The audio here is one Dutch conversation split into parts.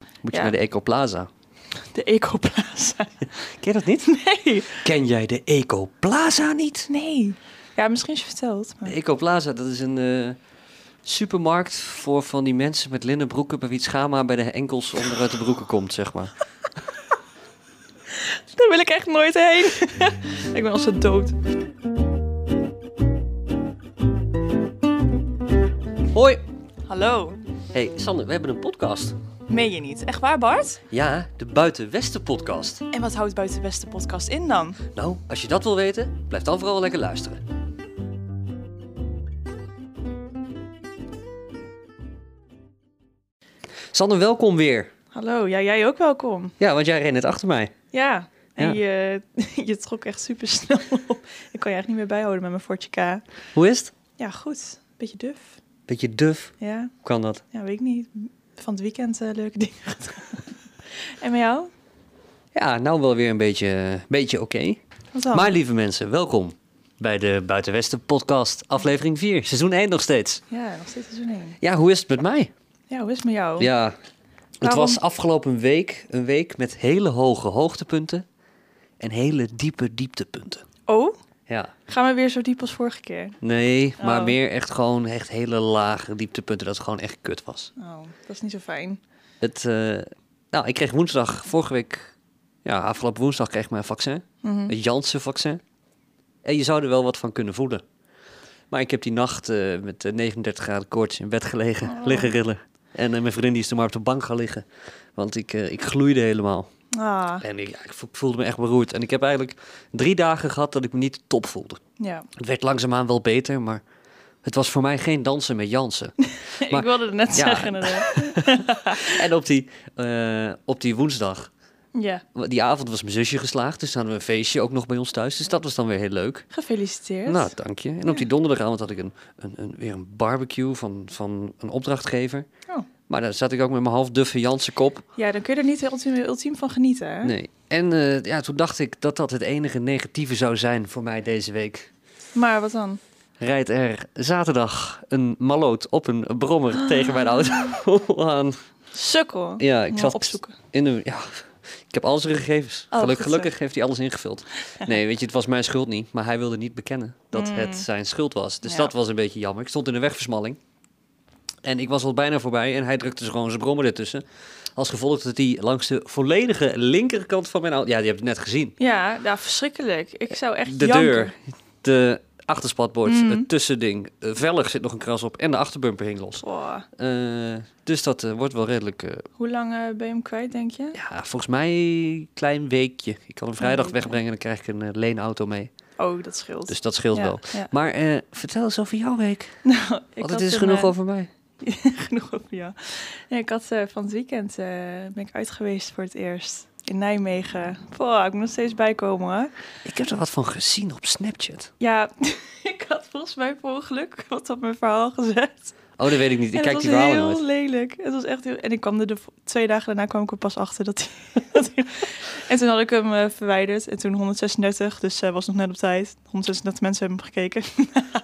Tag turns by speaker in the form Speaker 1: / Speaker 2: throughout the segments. Speaker 1: Moet je
Speaker 2: Ja.
Speaker 1: naar de Ecoplaza.
Speaker 2: De Ecoplaza.
Speaker 1: Ken je dat niet?
Speaker 2: Nee.
Speaker 1: Ken jij de Ecoplaza niet?
Speaker 2: Nee. Ja, misschien is je verteld. Maar...
Speaker 1: De Ecoplaza, dat is een eh, supermarkt voor van die mensen met linnen broeken... bij wie het schama bij de enkels onderuit de broeken komt, zeg maar.
Speaker 2: Daar wil ik echt nooit heen. ik ben al zo dood.
Speaker 1: Hoi!
Speaker 2: Hallo.
Speaker 1: hey, Sander, we hebben een podcast.
Speaker 2: Meen je niet? Echt waar, Bart?
Speaker 1: Ja, de Buitenwesten podcast.
Speaker 2: En wat houdt Buiten Westen podcast in dan?
Speaker 1: Nou, als je dat wil weten, blijf dan vooral lekker luisteren. Sander, welkom weer.
Speaker 2: Hallo. Ja, jij ook welkom.
Speaker 1: Ja, want jij ren net achter mij.
Speaker 2: Ja. En
Speaker 1: Ja.
Speaker 2: Je, je trok echt super snel op. Ik kan je echt niet meer bijhouden met mijn Fortje K.
Speaker 1: Hoe is het?
Speaker 2: Ja, goed. Beetje duf.
Speaker 1: Beetje duf.
Speaker 2: Ja.
Speaker 1: Hoe kan dat?
Speaker 2: Ja, weet ik niet. Van het weekend eh, leuke dingen gedaan. en met jou?
Speaker 1: Ja, nou wel weer een beetje, beetje oké.
Speaker 2: Wat dan?
Speaker 1: Maar lieve mensen, welkom bij de Buitenwesten podcast, aflevering 4, seizoen 1 nog steeds.
Speaker 2: Ja, nog steeds seizoen één.
Speaker 1: Ja, hoe is het met mij?
Speaker 2: Ja, hoe is het met jou?
Speaker 1: Ja, het
Speaker 2: Waarom?
Speaker 1: was afgelopen week een week met hele hoge hoogtepunten en hele diepe dieptepunten.
Speaker 2: Oh,
Speaker 1: Ja,
Speaker 2: gaan we weer zo diep als vorige keer?
Speaker 1: nee, maar
Speaker 2: Oh.
Speaker 1: meer echt gewoon echt hele lage dieptepunten dat het gewoon echt kut was.
Speaker 2: Oh, dat is niet zo fijn.
Speaker 1: Het, eh, nou, ik kreeg woensdag, vorige week, ja, afgelopen woensdag kreeg ik mijn vaccin,
Speaker 2: Mhm.
Speaker 1: het Janssen-vaccin. En je zou er wel wat van kunnen voelen. Maar ik heb die nacht eh, met eh, 39 graden koorts in bed gelegen,
Speaker 2: Oh.
Speaker 1: liggen rillen. En eh, mijn vriendin die is toen maar op de bank gaan liggen, want ik, eh, ik gloeide helemaal.
Speaker 2: Ah,
Speaker 1: En ik, ja, ik vo- voelde me echt beroerd. En ik heb eigenlijk drie dagen gehad dat ik me niet top voelde.
Speaker 2: ja.
Speaker 1: Het werd langzaamaan wel beter, maar het was voor mij geen dansen met Jansen.
Speaker 2: ik
Speaker 1: Maar-
Speaker 2: wilde het net
Speaker 1: Ja.
Speaker 2: zeggen inderdaad.
Speaker 1: en op die, eh, op die woensdag,
Speaker 2: Ja,
Speaker 1: die avond was mijn zusje geslaagd. Dus hadden we een feestje ook nog bij ons thuis. Dus dat was dan weer heel leuk.
Speaker 2: gefeliciteerd.
Speaker 1: Nou, dank je. En op die donderdagavond had ik een, een, een, weer een barbecue van, van een opdrachtgever.
Speaker 2: Oh.
Speaker 1: Maar daar zat ik ook met mijn half duffe Jansen kop.
Speaker 2: Ja, dan kun je er niet heel ultiem, ultiem van genieten. Hè?
Speaker 1: Nee. En eh, ja, toen dacht ik dat dat het enige negatieve zou zijn voor mij deze week.
Speaker 2: Maar wat dan?
Speaker 1: rijdt er zaterdag een maloot op een brommer
Speaker 2: Ah.
Speaker 1: tegen mijn auto aan.
Speaker 2: Sukkel.
Speaker 1: Ja, ik
Speaker 2: Moet
Speaker 1: zat
Speaker 2: opzoeken.
Speaker 1: in een... Ja, ik heb al zijn gegevens.
Speaker 2: Oh,
Speaker 1: Geluk-
Speaker 2: goed zo.
Speaker 1: gelukkig heeft hij alles ingevuld. Nee, weet je, het was mijn schuld niet. Maar hij wilde niet bekennen dat
Speaker 2: Mm.
Speaker 1: het zijn schuld was. Dus
Speaker 2: Ja.
Speaker 1: dat was een beetje jammer. Ik stond in een wegversmalling. En ik was al bijna voorbij en hij drukte dus gewoon zijn brommer ertussen. Als gevolg dat hij langs de volledige linkerkant van mijn auto... Ja, die heb je net gezien.
Speaker 2: Ja, nou, verschrikkelijk. Ik zou echt
Speaker 1: De
Speaker 2: janken.
Speaker 1: deur, de achterspatbord,
Speaker 2: Mm.
Speaker 1: het tussending, eh, velg zit nog een kras op en de achterbumper hing los.
Speaker 2: Goh.
Speaker 1: Eh, dus dat eh, wordt wel redelijk, eh,
Speaker 2: Hoe lang eh, ben je hem kwijt, denk je?
Speaker 1: ja, volgens mij een klein weekje. Ik kan hem vrijdag
Speaker 2: weekje.
Speaker 1: wegbrengen en dan krijg ik een eh, leenauto mee.
Speaker 2: Oh, dat scheelt.
Speaker 1: Dus dat scheelt
Speaker 2: Ja,
Speaker 1: wel.
Speaker 2: ja.
Speaker 1: Maar eh, vertel eens over jouw week.
Speaker 2: Nou, ik
Speaker 1: Want
Speaker 2: had
Speaker 1: het is
Speaker 2: een,
Speaker 1: genoeg
Speaker 2: eh,
Speaker 1: over mij.
Speaker 2: genoeg over jou. Nee, ik had eh, van het weekend eh, ben ik uit geweest voor het eerst in Nijmegen. Boah, ik moet nog steeds bijkomen. Hoor.
Speaker 1: Ik heb er wat van gezien op Snapchat.
Speaker 2: Ja, ik had volgens mij per ongeluk wat op mijn verhaal gezet.
Speaker 1: Oh, dat weet ik niet. Ik
Speaker 2: En
Speaker 1: kijk
Speaker 2: het
Speaker 1: die
Speaker 2: was
Speaker 1: verhalen
Speaker 2: heel
Speaker 1: nooit.
Speaker 2: lelijk. Het was echt heel... En ik kwam er de vo- twee dagen daarna kwam ik er pas achter dat hij... dat hij- en toen had ik hem eh, verwijderd. En toen 136, dus eh, was nog net op tijd. 136 mensen hebben hem gekeken.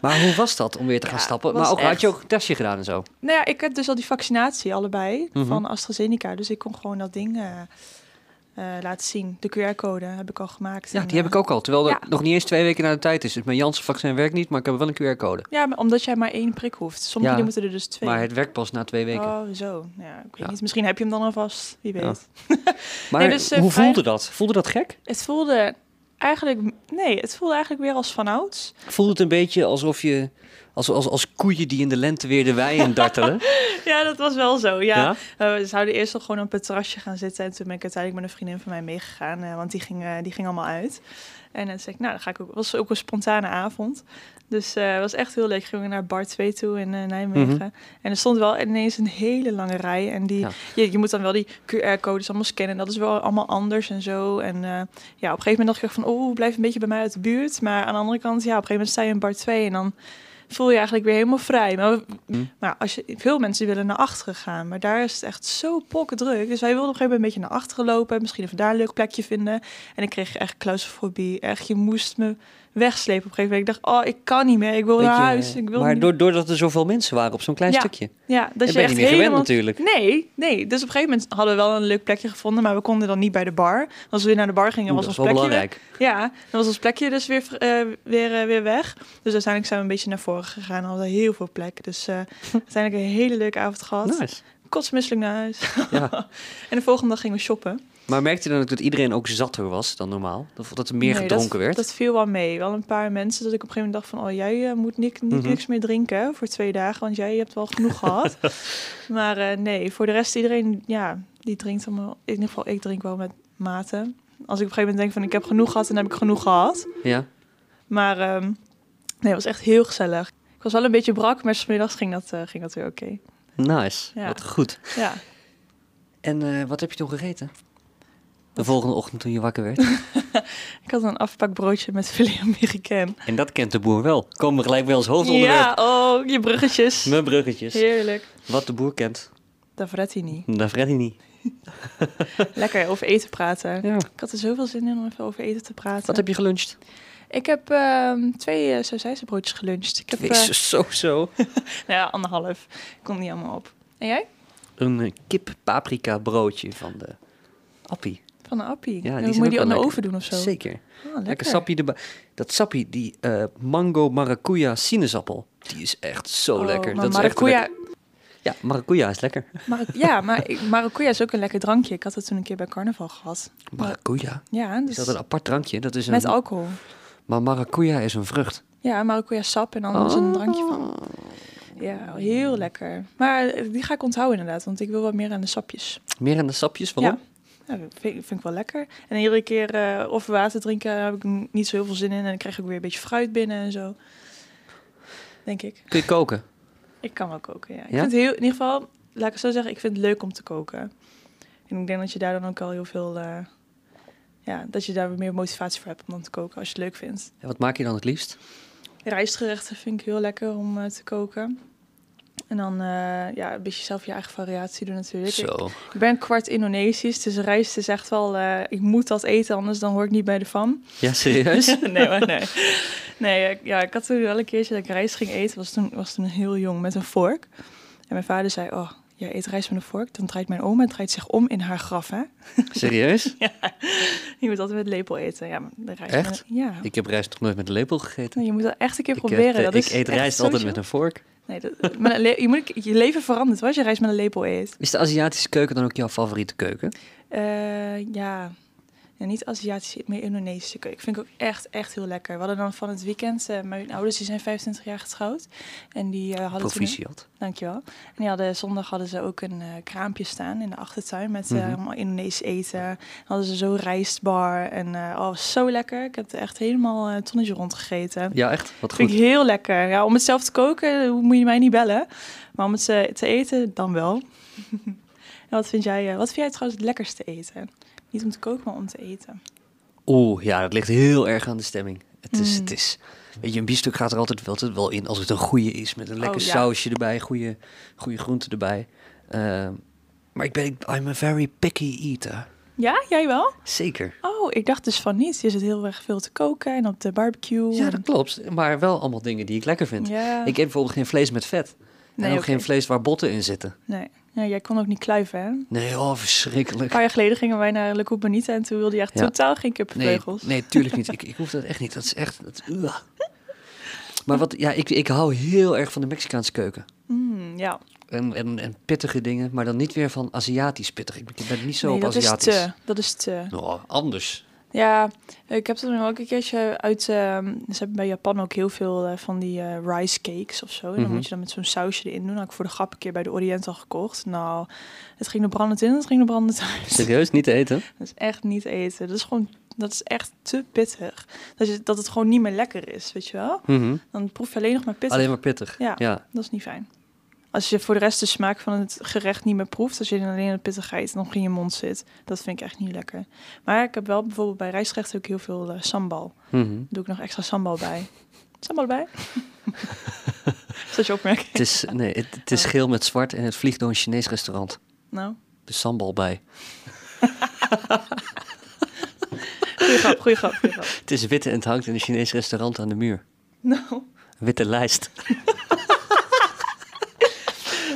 Speaker 1: Maar hoe was dat om weer te gaan
Speaker 2: Ja,
Speaker 1: stappen?
Speaker 2: was
Speaker 1: Maar ook, had je
Speaker 2: echt-
Speaker 1: ook een testje gedaan en zo?
Speaker 2: Nou ja, ik heb dus al die vaccinatie allebei
Speaker 1: Mhm.
Speaker 2: van AstraZeneca. Dus ik kon gewoon dat ding eh, eh, laten zien. De QR-code heb ik al gemaakt.
Speaker 1: Ja,
Speaker 2: En,
Speaker 1: die heb
Speaker 2: eh,
Speaker 1: ik ook al. Terwijl er
Speaker 2: ja.
Speaker 1: nog niet eens twee weken naar de tijd is. Dus mijn Janssen-vaccin werkt niet, maar ik heb wel een QR-code.
Speaker 2: Ja, maar omdat jij maar één prik hoeft. Sommige
Speaker 1: Ja,
Speaker 2: dingen moeten er dus twee.
Speaker 1: Maar het werkt pas na twee weken.
Speaker 2: Oh, zo. Ja, ik weet
Speaker 1: Ja.
Speaker 2: niet. Misschien heb je hem dan alvast. Wie weet.
Speaker 1: Ja. maar
Speaker 2: dus, eh,
Speaker 1: hoe
Speaker 2: vrij-
Speaker 1: voelde dat? Voelde dat gek?
Speaker 2: Het voelde eigenlijk... Nee, het voelde eigenlijk weer als vanouds.
Speaker 1: Voelde het een beetje alsof je... Als, als, als koeien die in de lente weer de wei in dartelen.
Speaker 2: Ja, dat was wel zo. Ja. Eh, we zouden eerst nog gewoon op het terrasje gaan zitten. En toen ben ik uiteindelijk met een vriendin van mij meegegaan. eh, want die ging, eh, die ging allemaal uit. En dan zei ik, nou, dan ga ik ook. was ook een spontane avond. Dus eh, het was echt heel leuk. Gingen we naar Bar 2 toe in eh, Nijmegen.
Speaker 1: Mhm.
Speaker 2: En er stond wel ineens een hele lange rij. En die,
Speaker 1: Ja.
Speaker 2: je, je moet dan wel die QR-codes dus allemaal scannen. Dat is wel allemaal anders en zo. En eh, ja, op een gegeven moment dacht ik echt van, oh, blijf een beetje bij mij uit de buurt. Maar aan de andere kant, ja, op een gegeven moment sta je in Bar 2 en dan voel je eigenlijk weer helemaal vrij. Maar, we-
Speaker 1: Hm.
Speaker 2: maar als je, veel mensen die willen naar achteren gaan, maar daar is het echt zo pokkendruk. Dus wij wilden op een gegeven moment een beetje naar achteren lopen, misschien even daar een leuk plekje vinden. En ik kreeg echt claustrofobie. Echt, je moest me wegslepen op een gegeven moment. Ik dacht, oh, ik kan niet meer. Ik wil
Speaker 1: Weet
Speaker 2: naar
Speaker 1: je,
Speaker 2: huis. Ik wil
Speaker 1: maar
Speaker 2: niet
Speaker 1: door- doordat er zoveel mensen waren op zo'n klein
Speaker 2: Ja.
Speaker 1: stukje.
Speaker 2: ja, dat
Speaker 1: ik
Speaker 2: je
Speaker 1: ben
Speaker 2: echt
Speaker 1: je niet meer gewend
Speaker 2: helemaal...
Speaker 1: natuurlijk.
Speaker 2: Nee, nee. Dus op een gegeven moment hadden we wel een leuk plekje gevonden, maar we konden dan niet bij de bar. Als we weer naar de bar gingen,
Speaker 1: Oeh,
Speaker 2: was
Speaker 1: dat is
Speaker 2: ons
Speaker 1: wel
Speaker 2: plekje
Speaker 1: belangrijk.
Speaker 2: weg. Ja, dan was ons plekje dus weer, eh, weer, eh, weer weg. Dus uiteindelijk zijn we een beetje naar voren gegaan. We hadden heel veel plek. Dus eh, uiteindelijk een hele leuke avond gehad.
Speaker 1: Nice.
Speaker 2: Kotsmisselijk naar huis.
Speaker 1: Ja.
Speaker 2: en de volgende dag gingen we shoppen.
Speaker 1: Maar merkte je dan ook dat iedereen ook zatter was dan normaal? Dat, dat er meer
Speaker 2: Nee,
Speaker 1: gedronken
Speaker 2: dat,
Speaker 1: werd?
Speaker 2: Dat viel wel mee. Wel een paar mensen dat ik op een gegeven moment dacht van... oh, jij eh, moet niks, niet,
Speaker 1: Mhm.
Speaker 2: niks meer drinken voor twee dagen... want jij hebt wel genoeg gehad. Maar eh, nee, voor de rest iedereen... ja, die drinkt allemaal... in ieder geval, ik drink wel met mate. Als ik op een gegeven moment denk van... ik heb genoeg gehad, dan heb ik genoeg gehad.
Speaker 1: Ja.
Speaker 2: Maar ehm, nee, het was echt heel gezellig. Ik was wel een beetje brak, maar smiddags ging dat, eh, ging dat weer oké.
Speaker 1: Nice.
Speaker 2: Ja.
Speaker 1: Wat goed.
Speaker 2: Ja.
Speaker 1: En eh, wat heb je toen gegeten? De volgende ochtend toen je wakker werd.
Speaker 2: Ik had een afpakbroodje met filet Amerikaan.
Speaker 1: en dat kent de boer wel. Komen we gelijk bij ons hoofdonderwerp.
Speaker 2: Ja, oh, je bruggetjes.
Speaker 1: Mijn bruggetjes.
Speaker 2: Heerlijk.
Speaker 1: Wat de boer kent,
Speaker 2: Davretti niet.
Speaker 1: dat redt hij niet.
Speaker 2: Lekker over eten praten. Ik had er zoveel zin in om even over eten te praten.
Speaker 1: Wat heb je geluncht? Ik heb...
Speaker 2: Ehm, twee uh, broodjes geluncht. Ik heb eh,
Speaker 1: zo zo.
Speaker 2: nou ja, anderhalf. Ik kon niet allemaal op. En jij?
Speaker 1: Een eh, kip paprika broodje van de appie.
Speaker 2: Van een appie.
Speaker 1: Ja,
Speaker 2: En
Speaker 1: die
Speaker 2: moet
Speaker 1: zijn
Speaker 2: je
Speaker 1: ook
Speaker 2: die aan de
Speaker 1: wel
Speaker 2: oven doen of zo?
Speaker 1: Zeker.
Speaker 2: Ah, lekker.
Speaker 1: Lekker sappie erbij. Dat sappie, die eh, mango maracuja sinaasappel, die is echt zo
Speaker 2: Oh,
Speaker 1: lekker.
Speaker 2: Maar
Speaker 1: dat is echt
Speaker 2: maracuja,
Speaker 1: lekker. Ja, maracuja is lekker.
Speaker 2: mara- ja, maar ik- maracuja is ook een lekker drankje. Ik had het toen een keer bij carnaval gehad.
Speaker 1: Maracuja?
Speaker 2: Ja,
Speaker 1: Is
Speaker 2: dus
Speaker 1: dat een apart drankje? Dat is een,
Speaker 2: met alcohol.
Speaker 1: maar maracuja is een vrucht. Ah,
Speaker 2: Ja, maracuja sap en dan is
Speaker 1: Oh.
Speaker 2: er een drankje van. Ja, heel lekker. Maar eh, die ga ik onthouden inderdaad, want ik wil wat meer aan de sapjes.
Speaker 1: Meer aan de sapjes, waarom?
Speaker 2: Ja. Ja, dat vind, vind ik wel lekker. En iedere keer eh, of water drinken, daar heb ik n- niet zo heel veel zin in. En dan krijg ik weer een beetje fruit binnen en zo. Denk ik.
Speaker 1: Kun je koken?
Speaker 2: Ik kan wel koken, ja. Ik
Speaker 1: Ja?
Speaker 2: vind het heel, in ieder geval, laat ik het zo zeggen, ik vind het leuk om te koken. En ik denk dat je daar dan ook al heel veel, eh, ja, dat je daar meer motivatie voor hebt om dan te koken als je het leuk vindt.
Speaker 1: En wat maak je dan het liefst?
Speaker 2: Rijstgerechten vind ik heel lekker om eh, te koken. En dan eh, ja, een beetje zelf je eigen variatie doen natuurlijk. Ik-
Speaker 1: Zo.
Speaker 2: ik ben kwart Indonesisch, dus rijst is echt wel... eh, ik moet dat eten, anders dan hoor ik niet bij de fam.
Speaker 1: Ja, serieus?
Speaker 2: nee, maar nee. Nee, eh, ja, ik had toen wel een keertje dat ik rijst ging eten. was toen, was toen heel jong, met een vork. En mijn vader zei, oh, jij eet rijst met een vork? Dan draait mijn oma, draait zich om in haar graf, hè?
Speaker 1: serieus?
Speaker 2: Je moet altijd met lepel eten. Ja, maar de rijst
Speaker 1: Echt?
Speaker 2: met- ja.
Speaker 1: Ik heb rijst nog nooit met een lepel gegeten.
Speaker 2: Nee, Je moet dat echt een keer
Speaker 1: Ik, heb,
Speaker 2: proberen.
Speaker 1: eh,
Speaker 2: dat
Speaker 1: ik
Speaker 2: is
Speaker 1: eet
Speaker 2: echt
Speaker 1: rijst
Speaker 2: sowieso-
Speaker 1: altijd met een vork.
Speaker 2: Nee, dat, met een le- je, moet, je leven verandert hoor, als je rijst met een lepel eet.
Speaker 1: Is de Aziatische keuken dan ook jouw favoriete keuken?
Speaker 2: Eh, ja. ja, niet Aziatische, meer Indonesische keuken. Vind ik ook echt, echt heel lekker. We hadden dan van het weekend, eh, mijn ouders die zijn 25 jaar getrouwd. En die eh, hadden toen...
Speaker 1: Proficiat.
Speaker 2: Dankjewel. En die hadden, zondag hadden ze ook een eh, kraampje staan in de achtertuin met eh,
Speaker 1: Mhm.
Speaker 2: allemaal Indonesisch eten. Dan hadden ze zo rijstbar en eh, oh, zo lekker. Ik heb er echt helemaal eh, een tonnetje rondgegeten.
Speaker 1: Ja, echt? Wat
Speaker 2: Vind
Speaker 1: goed.
Speaker 2: ik heel lekker. Ja, om het zelf te koken eh, moet je mij niet bellen. Maar om het eh, te eten, dan wel. en wat vind jij, eh, wat vind jij trouwens het lekkerste eten? Niet om te koken, maar om te eten.
Speaker 1: Oeh, ja, dat ligt heel erg aan de stemming. Het is,
Speaker 2: Mm.
Speaker 1: het is, weet je, een biefstuk gaat er altijd wel, altijd wel in als het een goede is. Met een lekker
Speaker 2: Oh, ja.
Speaker 1: sausje erbij, goede, goede groenten erbij. Ehm, maar ik ben, I'm a very picky eater.
Speaker 2: Ja, jij wel?
Speaker 1: Zeker.
Speaker 2: Oh, ik dacht dus van niet. Je zit heel erg veel te koken en op de barbecue.
Speaker 1: Ja, dat
Speaker 2: en-
Speaker 1: klopt. Maar wel allemaal dingen die ik lekker vind.
Speaker 2: ja.
Speaker 1: Ik eet bijvoorbeeld geen vlees met vet.
Speaker 2: Nee,
Speaker 1: en ook
Speaker 2: oké.
Speaker 1: geen vlees waar botten in zitten.
Speaker 2: nee. Ja, jij kon ook niet kluiven, hè? Een
Speaker 1: Nee, oh, verschrikkelijk.
Speaker 2: paar jaar geleden gingen wij naar Le Coupe Bonita en toen wilde je echt
Speaker 1: Ja.
Speaker 2: totaal geen
Speaker 1: Nee,
Speaker 2: kippenvleugels.
Speaker 1: nee, tuurlijk niet. Ik, ik hoef dat echt niet. Dat is echt... Dat, uah. Maar wat, ja, ik, ik hou heel erg van de Mexicaanse keuken.
Speaker 2: Mm, ja.
Speaker 1: En, en, en pittige dingen, maar dan niet weer van Aziatisch pittig. Ik ben niet zo
Speaker 2: nee,
Speaker 1: op
Speaker 2: dat is
Speaker 1: Aziatisch.
Speaker 2: te. Dat is te.
Speaker 1: Nou, anders.
Speaker 2: Ja, ik heb toen ook een keertje uit. ehm, ze hebben bij Japan ook heel veel eh, van die eh, rice cakes of zo. En dan
Speaker 1: Mhm.
Speaker 2: moet je dan met zo'n sausje erin doen. Had ik voor de grap een keer bij de Oriental gekocht. Nou, het ging er brandend in, het ging er brandend uit.
Speaker 1: Serieus, niet te eten?
Speaker 2: Dat is echt niet eten. Dat is gewoon, dat is echt te pittig. Dat, je, dat het gewoon niet meer lekker is, weet je wel? Dan proef je alleen nog maar pittig.
Speaker 1: Mhm. Alleen maar pittig.
Speaker 2: Ja. Dat is niet fijn. Als je voor de rest de smaak van het gerecht niet meer proeft, als je dan alleen de pittigheid nog in je mond zit, dat vind ik echt niet lekker. Maar ik heb wel bijvoorbeeld bij rijstgerechten ook heel veel eh, sambal.
Speaker 1: Mhm.
Speaker 2: Doe ik nog extra sambal bij. Sambal bij? Is dat je opmerking?
Speaker 1: Het is, nee, het, het
Speaker 2: Oh.
Speaker 1: is geel met zwart en het vliegt door een Chinees restaurant.
Speaker 2: Nou,
Speaker 1: De sambal bij.
Speaker 2: goeie grap, goeie grap, goeie grap.
Speaker 1: Het is wit en het hangt in een Chinees restaurant aan de muur.
Speaker 2: Nou,
Speaker 1: Een witte lijst.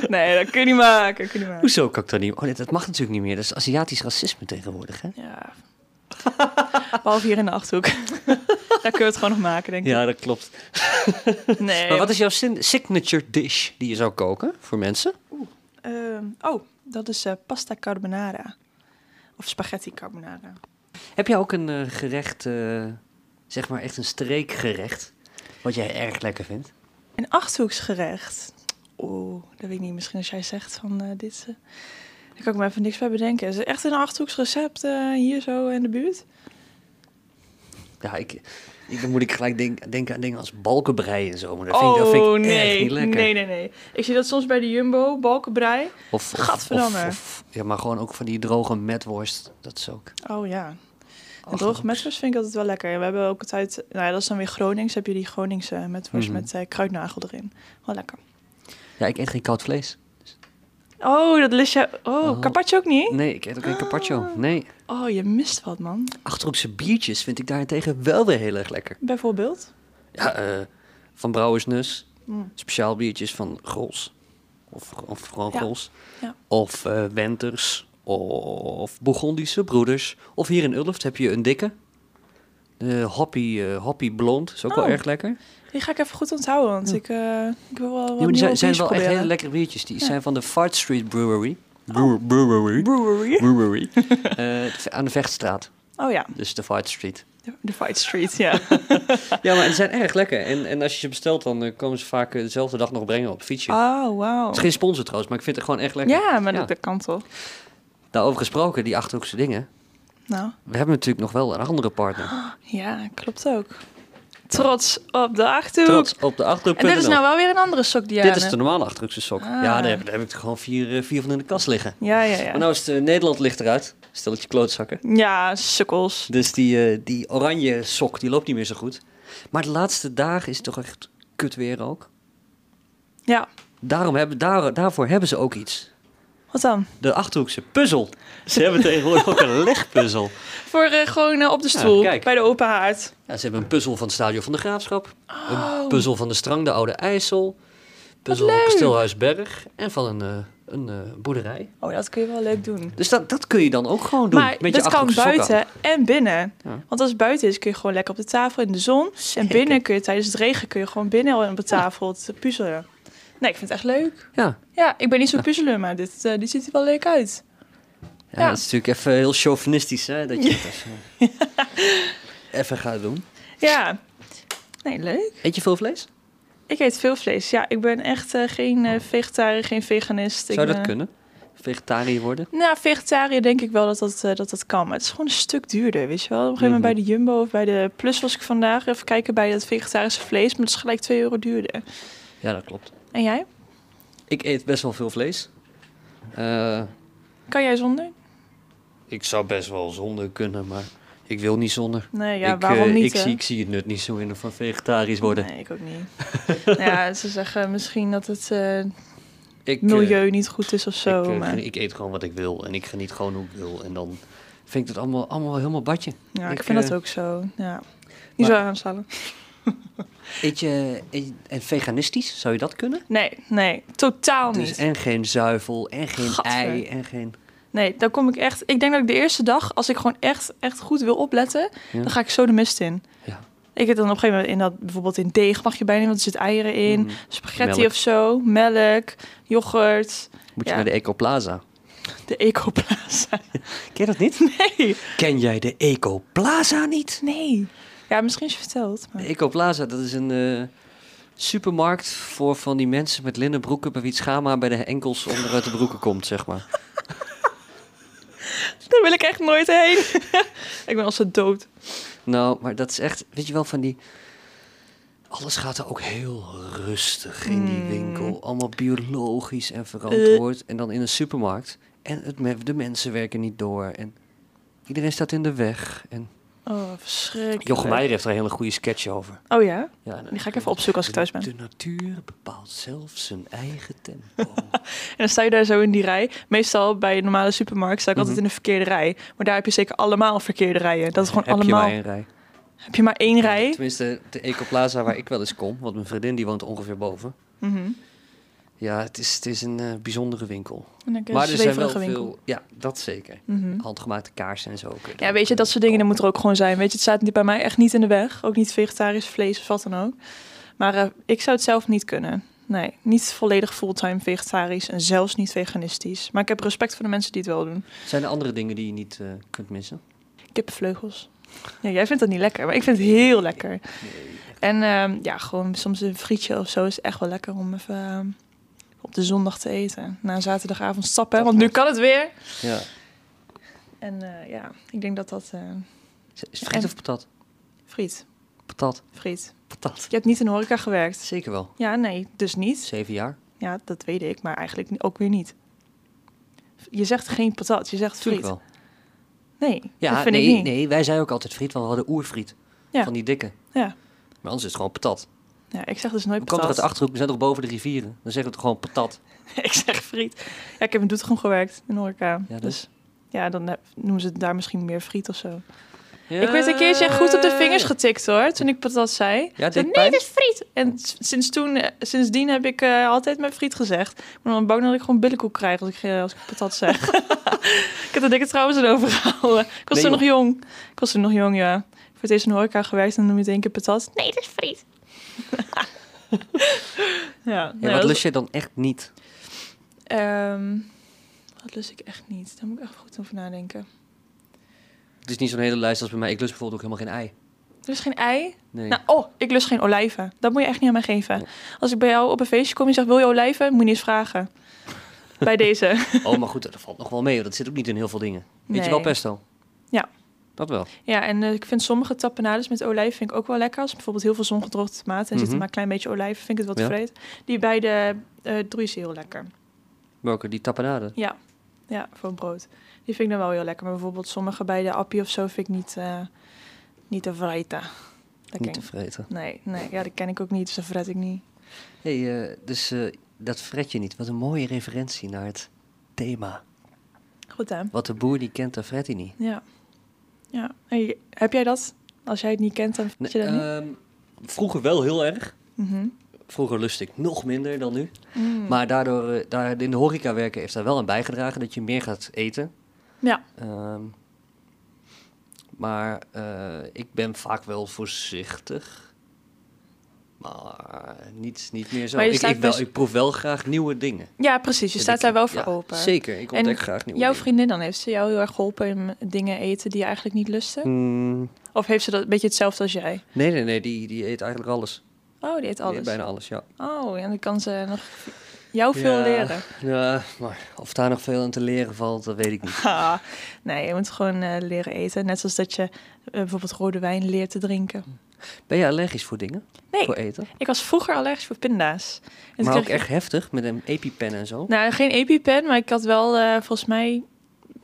Speaker 2: nee, dat kun je niet maken, dat kun je niet maken.
Speaker 1: Hoezo kan ik dat niet? Oh, nee, dat mag natuurlijk niet meer. Dat is Aziatisch racisme tegenwoordig, hè?
Speaker 2: Ja. Behalve hier in de Achterhoek. Daar kunnen we het gewoon nog maken, denk ik.
Speaker 1: Ja, dat klopt.
Speaker 2: Nee.
Speaker 1: Maar wat is jouw sin- signature dish die je zou koken voor mensen?
Speaker 2: Ehm, oh, dat is eh, pasta carbonara. Of spaghetti carbonara.
Speaker 1: Heb jij ook een eh, gerecht, eh, zeg maar echt een streekgerecht, wat jij erg lekker vindt?
Speaker 2: Een achthoeksgerecht. Oeh, dat weet ik niet. Misschien als jij zegt van eh, dit. is, eh, daar kan ik me even niks bij bedenken. Is het echt een achthoeksrecept eh, hier zo in de buurt?
Speaker 1: Ja, ik, ik, dan moet ik gelijk denk- denken aan dingen als balkenbrei en zo. Maar dat vind, ik- dat
Speaker 2: oh
Speaker 1: vind ik echt
Speaker 2: nee.
Speaker 1: niet lekker.
Speaker 2: nee, nee, nee. Ik zie dat soms bij de Jumbo, balkenbrei.
Speaker 1: Of,
Speaker 2: Gadverdamme.
Speaker 1: ja, maar gewoon ook van die droge metworst. Dat is ook.
Speaker 2: Oh ja.
Speaker 1: Och,
Speaker 2: En droge metworst vind ik altijd wel lekker. We hebben ook altijd, nou ja, dat is dan weer Gronings. Heb je die Groningse metworst
Speaker 1: Mhm.
Speaker 2: met eh, kruidnagel erin. Wel lekker.
Speaker 1: Ja, ik eet geen koud vlees.
Speaker 2: Oh, dat lust je. Oh,
Speaker 1: Oh.
Speaker 2: carpaccio ook niet?
Speaker 1: Nee, ik eet ook geen carpaccio.
Speaker 2: Ah.
Speaker 1: Nee.
Speaker 2: Oh, je mist wat, man.
Speaker 1: Achterhoekse biertjes vind ik daarentegen wel weer heel erg lekker.
Speaker 2: Bijvoorbeeld.
Speaker 1: Ja, eh, van Brouwersnus.
Speaker 2: Mm.
Speaker 1: Speciaal biertjes van Grols. Of, of gewoon
Speaker 2: Ja,
Speaker 1: Grols.
Speaker 2: ja.
Speaker 1: Of eh, Wenters. Of Bourgondische Broeders. Of hier in Ulft heb je een dikke. De hoppy, eh, hoppy Blond. Is ook wel
Speaker 2: Oh.
Speaker 1: erg lekker.
Speaker 2: Die ga ik even goed onthouden, want ik, eh, ik wil wel wat
Speaker 1: Ja, maar die zijn,
Speaker 2: nieuwe
Speaker 1: zijn
Speaker 2: biertjes
Speaker 1: wel echt
Speaker 2: proberen.
Speaker 1: hele lekkere biertjes. Die
Speaker 2: Ja. Oh.
Speaker 1: zijn van de Fart Street Brewery. Brew- Brewery.
Speaker 2: Brewery.
Speaker 1: Brewery. Eh, aan de Vechtstraat.
Speaker 2: Oh ja,
Speaker 1: Dus de Fart Street.
Speaker 2: de- de Fight Street, ja.
Speaker 1: Ja, maar die zijn erg lekker. En, en als je ze bestelt, dan eh, komen ze vaak eh, dezelfde dag nog brengen op het fietsje.
Speaker 2: Oh, wauw.
Speaker 1: Het is geen sponsor trouwens, maar ik vind het gewoon echt lekker.
Speaker 2: Ja, maar
Speaker 1: Ja.
Speaker 2: Dat, dat kan toch.
Speaker 1: Daarover gesproken, die Achterhoekse dingen.
Speaker 2: Nou,
Speaker 1: We hebben natuurlijk nog wel een andere partner.
Speaker 2: ja, klopt ook. Trots op de Achterhoek.
Speaker 1: Trots op de Achterhoek.nl.
Speaker 2: En dit is nou wel weer een andere sok die
Speaker 1: Dit is de normale Achterhoekse sok.
Speaker 2: Ah.
Speaker 1: Ja, daar heb, daar heb ik er gewoon vier, eh, vier van in de kast liggen.
Speaker 2: Ja, ja, ja.
Speaker 1: Maar nou is het, eh, Nederland ligt eruit. Stelletje klootzakken.
Speaker 2: Ja, sukkels.
Speaker 1: Dus die, eh, die oranje sok, die loopt niet meer zo goed. Maar de laatste dagen is het toch echt kut weer ook.
Speaker 2: Ja,
Speaker 1: Daarom hebben, daar, daarvoor hebben ze ook iets.
Speaker 2: wat dan?
Speaker 1: De Achterhoekse puzzel. Ze hebben tegenwoordig ook een legpuzzel.
Speaker 2: Voor eh, gewoon eh, op de stoel,
Speaker 1: kijk.
Speaker 2: bij de open haard.
Speaker 1: Ja, ze hebben een puzzel van het Stadion van de Graafschap. Een puzzel van de Strang, de Oude IJssel. Puzzel van
Speaker 2: leuk.
Speaker 1: Kasteelhuis Berg. En van een, eh, een eh, boerderij.
Speaker 2: Oh, dat kun je wel leuk doen.
Speaker 1: Dus dat, dat kun je dan ook gewoon doen.
Speaker 2: maar
Speaker 1: met je
Speaker 2: dat kan
Speaker 1: Achterhoekse sokken.
Speaker 2: buiten en binnen.
Speaker 1: Ja.
Speaker 2: Want als het buiten is, kun je gewoon lekker op de tafel in de zon. En binnen kun je tijdens het regen kun je gewoon binnen al op de tafel te puzzelen. Nee, ik vind het echt leuk.
Speaker 1: Ja.
Speaker 2: Ja, ik ben niet zo'n puzzelen, maar dit, eh, dit ziet er wel leuk uit.
Speaker 1: Ja,
Speaker 2: Ja.
Speaker 1: dat is natuurlijk even heel chauvinistisch, hè? Dat je het even, even gaat doen.
Speaker 2: Ja. Nee, leuk.
Speaker 1: Eet je veel vlees?
Speaker 2: Ik eet veel vlees. Ja, ik ben echt eh, geen eh vegetariër, geen veganist.
Speaker 1: Zou
Speaker 2: ik,
Speaker 1: dat
Speaker 2: eh,
Speaker 1: kunnen? Vegetariër worden?
Speaker 2: Nou, vegetariër denk ik wel dat dat, eh, dat dat kan. Maar het is gewoon een stuk duurder, weet je wel. Op een gegeven
Speaker 1: Mhm.
Speaker 2: moment bij de Jumbo of bij de Plus was ik vandaag. Even kijken bij dat vegetarische vlees. Maar dat is gelijk 2 euro duurder.
Speaker 1: Ja, dat klopt.
Speaker 2: En jij?
Speaker 1: Ik eet best wel veel vlees. Eh,
Speaker 2: Kan jij zonder?
Speaker 1: ik zou best wel zonder kunnen, maar ik wil niet zonder.
Speaker 2: Nee, ja,
Speaker 1: ik,
Speaker 2: waarom
Speaker 1: eh,
Speaker 2: niet?
Speaker 1: Ik
Speaker 2: hè?
Speaker 1: zie, ik zie het nut niet zo in van vegetarisch worden.
Speaker 2: Nee, ik ook niet. Nou ja, ze zeggen misschien dat het eh,
Speaker 1: Ik, eh,
Speaker 2: milieu niet goed is of zo.
Speaker 1: ik, eh,
Speaker 2: maar,
Speaker 1: geniet- ik eet gewoon wat ik wil en ik geniet gewoon hoe ik wil. En dan vind ik het allemaal, allemaal helemaal badje.
Speaker 2: ja, ik,
Speaker 1: ik,
Speaker 2: vind
Speaker 1: eh,
Speaker 2: dat ook zo. Ja. Niet zo aanstellen.
Speaker 1: Eet je eet- en veganistisch, zou je dat kunnen?
Speaker 2: Nee, nee, totaal
Speaker 1: Dus
Speaker 2: niet.
Speaker 1: en geen zuivel, en geen
Speaker 2: Gadver.
Speaker 1: ei, en geen...
Speaker 2: Nee, daar kom ik echt. Ik denk dat ik de eerste dag, als ik gewoon echt, echt goed wil opletten,
Speaker 1: Ja.
Speaker 2: dan ga ik zo de mist in.
Speaker 1: Ja.
Speaker 2: Ik heb dan op een gegeven moment in dat bijvoorbeeld in deeg mag je bijna, want er zit eieren in,
Speaker 1: Mhm.
Speaker 2: spaghetti
Speaker 1: Melk.
Speaker 2: of zo, melk, yoghurt,
Speaker 1: Moet je
Speaker 2: Ja.
Speaker 1: naar de Ecoplaza.
Speaker 2: de ecoplaza.
Speaker 1: Ken je dat niet?
Speaker 2: Nee,
Speaker 1: Ken jij de Ecoplaza niet?
Speaker 2: nee. Ja, misschien is je verteld. Maar...
Speaker 1: De Ecoplaza, dat is een eh, supermarkt voor van die mensen met linnen broeken... bij wie het schama bij de enkels onderuit de broeken komt, zeg maar.
Speaker 2: Daar wil ik echt nooit heen. ik ben al zo dood.
Speaker 1: Nou, maar dat is echt, weet je wel, van die... Alles gaat er ook heel rustig in die
Speaker 2: Mm.
Speaker 1: winkel. Allemaal biologisch
Speaker 2: Eh.
Speaker 1: en verantwoord. En dan in een supermarkt. En het, me- de mensen werken niet door. En iedereen staat in de weg. En
Speaker 2: Oh, verschrikkelijk.
Speaker 1: Jochem Meijer heeft er een hele goede sketch over.
Speaker 2: Oh ja?
Speaker 1: Ja, en-
Speaker 2: Die ga ik even opzoeken als ik thuis ben.
Speaker 1: De natuur bepaalt zelf zijn eigen tempo.
Speaker 2: En dan sta je daar zo in die rij. Meestal bij een normale supermarkt sta ik
Speaker 1: Mhm.
Speaker 2: altijd in de verkeerde rij. Maar daar heb je zeker allemaal verkeerde rijen. Dat is gewoon
Speaker 1: Heb
Speaker 2: allemaal...
Speaker 1: je maar een rij.
Speaker 2: Heb je maar één rij?
Speaker 1: Tenminste, de Ecoplaza waar ik wel eens kom, want mijn vriendin die woont ongeveer boven.
Speaker 2: Mhm.
Speaker 1: Ja, het is, het is een eh, bijzondere winkel.
Speaker 2: En dan kun je
Speaker 1: maar er zijn wel
Speaker 2: zweverige winkel.
Speaker 1: veel... Ja, dat zeker.
Speaker 2: Mhm.
Speaker 1: Handgemaakte kaarsen en zo. kun je
Speaker 2: Ja,
Speaker 1: daar
Speaker 2: weet je,
Speaker 1: ook,
Speaker 2: dat
Speaker 1: eh,
Speaker 2: soort dingen dat
Speaker 1: kopen.
Speaker 2: moet er ook gewoon zijn. Weet je, het staat niet bij mij echt niet in de weg. Ook niet vegetarisch vlees of wat dan ook. Maar eh, ik zou het zelf niet kunnen. Nee, niet volledig fulltime vegetarisch en zelfs niet veganistisch. Maar ik heb respect voor de mensen die het wel doen.
Speaker 1: Zijn er andere dingen die je niet eh, kunt missen?
Speaker 2: Kippenvleugels. Ja, jij vindt dat niet lekker, maar ik vind het heel lekker.
Speaker 1: Nee.
Speaker 2: En ehm, ja, gewoon soms een frietje of zo is echt wel lekker om even ehm, op de zondag te eten. Na een zaterdagavond stappen, hè,
Speaker 1: Dat
Speaker 2: want nu
Speaker 1: klopt.
Speaker 2: kan het weer.
Speaker 1: Ja.
Speaker 2: En eh, ja, ik denk dat dat... eh,
Speaker 1: Is is het friet
Speaker 2: En-
Speaker 1: of patat?
Speaker 2: friet,
Speaker 1: Patat.
Speaker 2: friet.
Speaker 1: Patat.
Speaker 2: Je hebt niet in de horeca gewerkt.
Speaker 1: Zeker wel.
Speaker 2: Ja, nee, dus niet.
Speaker 1: Zeven jaar.
Speaker 2: Ja, dat weet ik, maar eigenlijk ook weer niet. Je zegt geen patat, je zegt friet.
Speaker 1: Natuurlijk wel.
Speaker 2: Nee,
Speaker 1: Ja,
Speaker 2: dat vind
Speaker 1: nee,
Speaker 2: ik niet.
Speaker 1: nee, wij zeiden ook altijd friet, want we hadden oerfriet.
Speaker 2: Ja.
Speaker 1: Van die dikke.
Speaker 2: Ja.
Speaker 1: Maar anders is het gewoon patat.
Speaker 2: Ja, ik zeg dus nooit
Speaker 1: Hoe komt er uit
Speaker 2: patat.
Speaker 1: de Achterhoek? We zijn toch boven de rivieren? Dan zeggen we toch gewoon patat.
Speaker 2: ik zeg friet. Ja, ik heb in Doetinchem gewerkt, in de horeca.
Speaker 1: Ja, dus.
Speaker 2: Ja, dan heb- noemen ze het daar misschien meer friet of zo. Ik werd een keertje goed op de vingers getikt hoor, toen ik patat zei. Ik zei,
Speaker 1: deed
Speaker 2: nee,
Speaker 1: pijn?
Speaker 2: dit is friet. En s- sinds toen, eh, sindsdien heb ik eh, altijd mijn friet gezegd. Maar dan bang dat ik gewoon billenkoek krijg als ik, eh, als ik patat zeg. ik heb er dikke trouwens aan overgehouden. Ik
Speaker 1: Nee,
Speaker 2: was toen nog
Speaker 1: joh.
Speaker 2: jong. Ik was toen nog jong, ja. Voor het eerst in de horeca gewerkt en dan noem je het één keer patat. Nee, dit is friet. ja,
Speaker 1: Ja,
Speaker 2: nou,
Speaker 1: wat
Speaker 2: dat-
Speaker 1: lust je dan echt niet?
Speaker 2: Ehm, wat lust ik echt niet? Daar moet ik echt goed over nadenken.
Speaker 1: Het is niet zo'n hele lijst als bij mij. Ik lust bijvoorbeeld ook helemaal geen ei.
Speaker 2: Er is geen ei.
Speaker 1: Nee.
Speaker 2: Nou, oh, ik lust geen olijven. Dat moet je echt niet aan mij geven. Als ik bij jou op een feestje kom en je zegt, wil je olijven? Moet je niet eens vragen. bij deze.
Speaker 1: Oh, maar goed, dat valt nog wel mee. hoor. Dat zit ook niet in heel veel dingen. Weet
Speaker 2: Nee.
Speaker 1: je wel pesto?
Speaker 2: Ja.
Speaker 1: Dat wel.
Speaker 2: Ja, en eh, ik vind sommige tapenades met olijven vind ik ook wel lekker. Als bijvoorbeeld heel veel zongedroogde tomaten en zit er
Speaker 1: Mhm.
Speaker 2: maar een klein beetje olijven, vind ik het wel
Speaker 1: Ja.
Speaker 2: tevreden. Die bij de eh druus heel lekker.
Speaker 1: Welke? Die tapenade.
Speaker 2: Ja. ja, voor een brood. Die vind ik dan wel heel lekker. Maar bijvoorbeeld sommige bij de appie of zo vind ik niet, eh niet de vreten. Dat ken
Speaker 1: Niet te
Speaker 2: ik
Speaker 1: vreten.
Speaker 2: Nee, nee, ja, dat ken ik ook niet, dus dat verret ik niet.
Speaker 1: hey, eh, dus eh, dat fret je niet. Wat een mooie referentie naar het thema.
Speaker 2: Goed hè?
Speaker 1: Wat de boer niet kent, dat fret hij niet.
Speaker 2: Ja. ja. Hey, heb jij dat? Als jij het niet kent, dan vind je dat niet?
Speaker 1: ehm, vroeger wel heel erg.
Speaker 2: Mhm.
Speaker 1: Vroeger lust ik nog minder dan nu.
Speaker 2: Mm.
Speaker 1: Maar daardoor, eh, daar, in de horeca werken heeft daar wel aan bijgedragen dat je meer gaat eten.
Speaker 2: Ja.
Speaker 1: Ehm, maar eh, ik ben vaak wel voorzichtig. Maar niet, niet meer zo.
Speaker 2: Maar je
Speaker 1: Ik,
Speaker 2: staat
Speaker 1: ik, wel,
Speaker 2: best-
Speaker 1: ik proef wel graag nieuwe dingen.
Speaker 2: ja, precies. Je
Speaker 1: En
Speaker 2: staat
Speaker 1: ik-
Speaker 2: daar wel voor
Speaker 1: ja,
Speaker 2: open.
Speaker 1: Zeker, ik
Speaker 2: En
Speaker 1: ontdek graag nieuwe
Speaker 2: Jouw
Speaker 1: dingen.
Speaker 2: vriendin dan, heeft ze jou heel erg geholpen in dingen eten die je eigenlijk niet lustte?
Speaker 1: Mm,
Speaker 2: Of heeft ze dat een beetje hetzelfde als jij?
Speaker 1: nee, nee, nee, die, die eet eigenlijk alles.
Speaker 2: Oh, die eet
Speaker 1: Die eet
Speaker 2: alles.
Speaker 1: bijna alles, ja.
Speaker 2: Oh, en dan kan ze nog jou veel
Speaker 1: Ja.
Speaker 2: leren.
Speaker 1: Ja, maar of daar nog veel aan te leren valt, dat weet ik niet.
Speaker 2: Ha. Nee, je moet gewoon eh, leren eten. Net zoals dat je eh, bijvoorbeeld rode wijn leert te
Speaker 1: Mm.
Speaker 2: drinken.
Speaker 1: Ben je allergisch voor dingen?
Speaker 2: Nee,
Speaker 1: Voor eten?
Speaker 2: ik was vroeger allergisch voor pinda's. En toen
Speaker 1: maar
Speaker 2: kreeg
Speaker 1: ook
Speaker 2: ik-
Speaker 1: echt heftig, met een epipen en zo.
Speaker 2: Nou, geen EpiPen, maar ik had wel eh, volgens mij...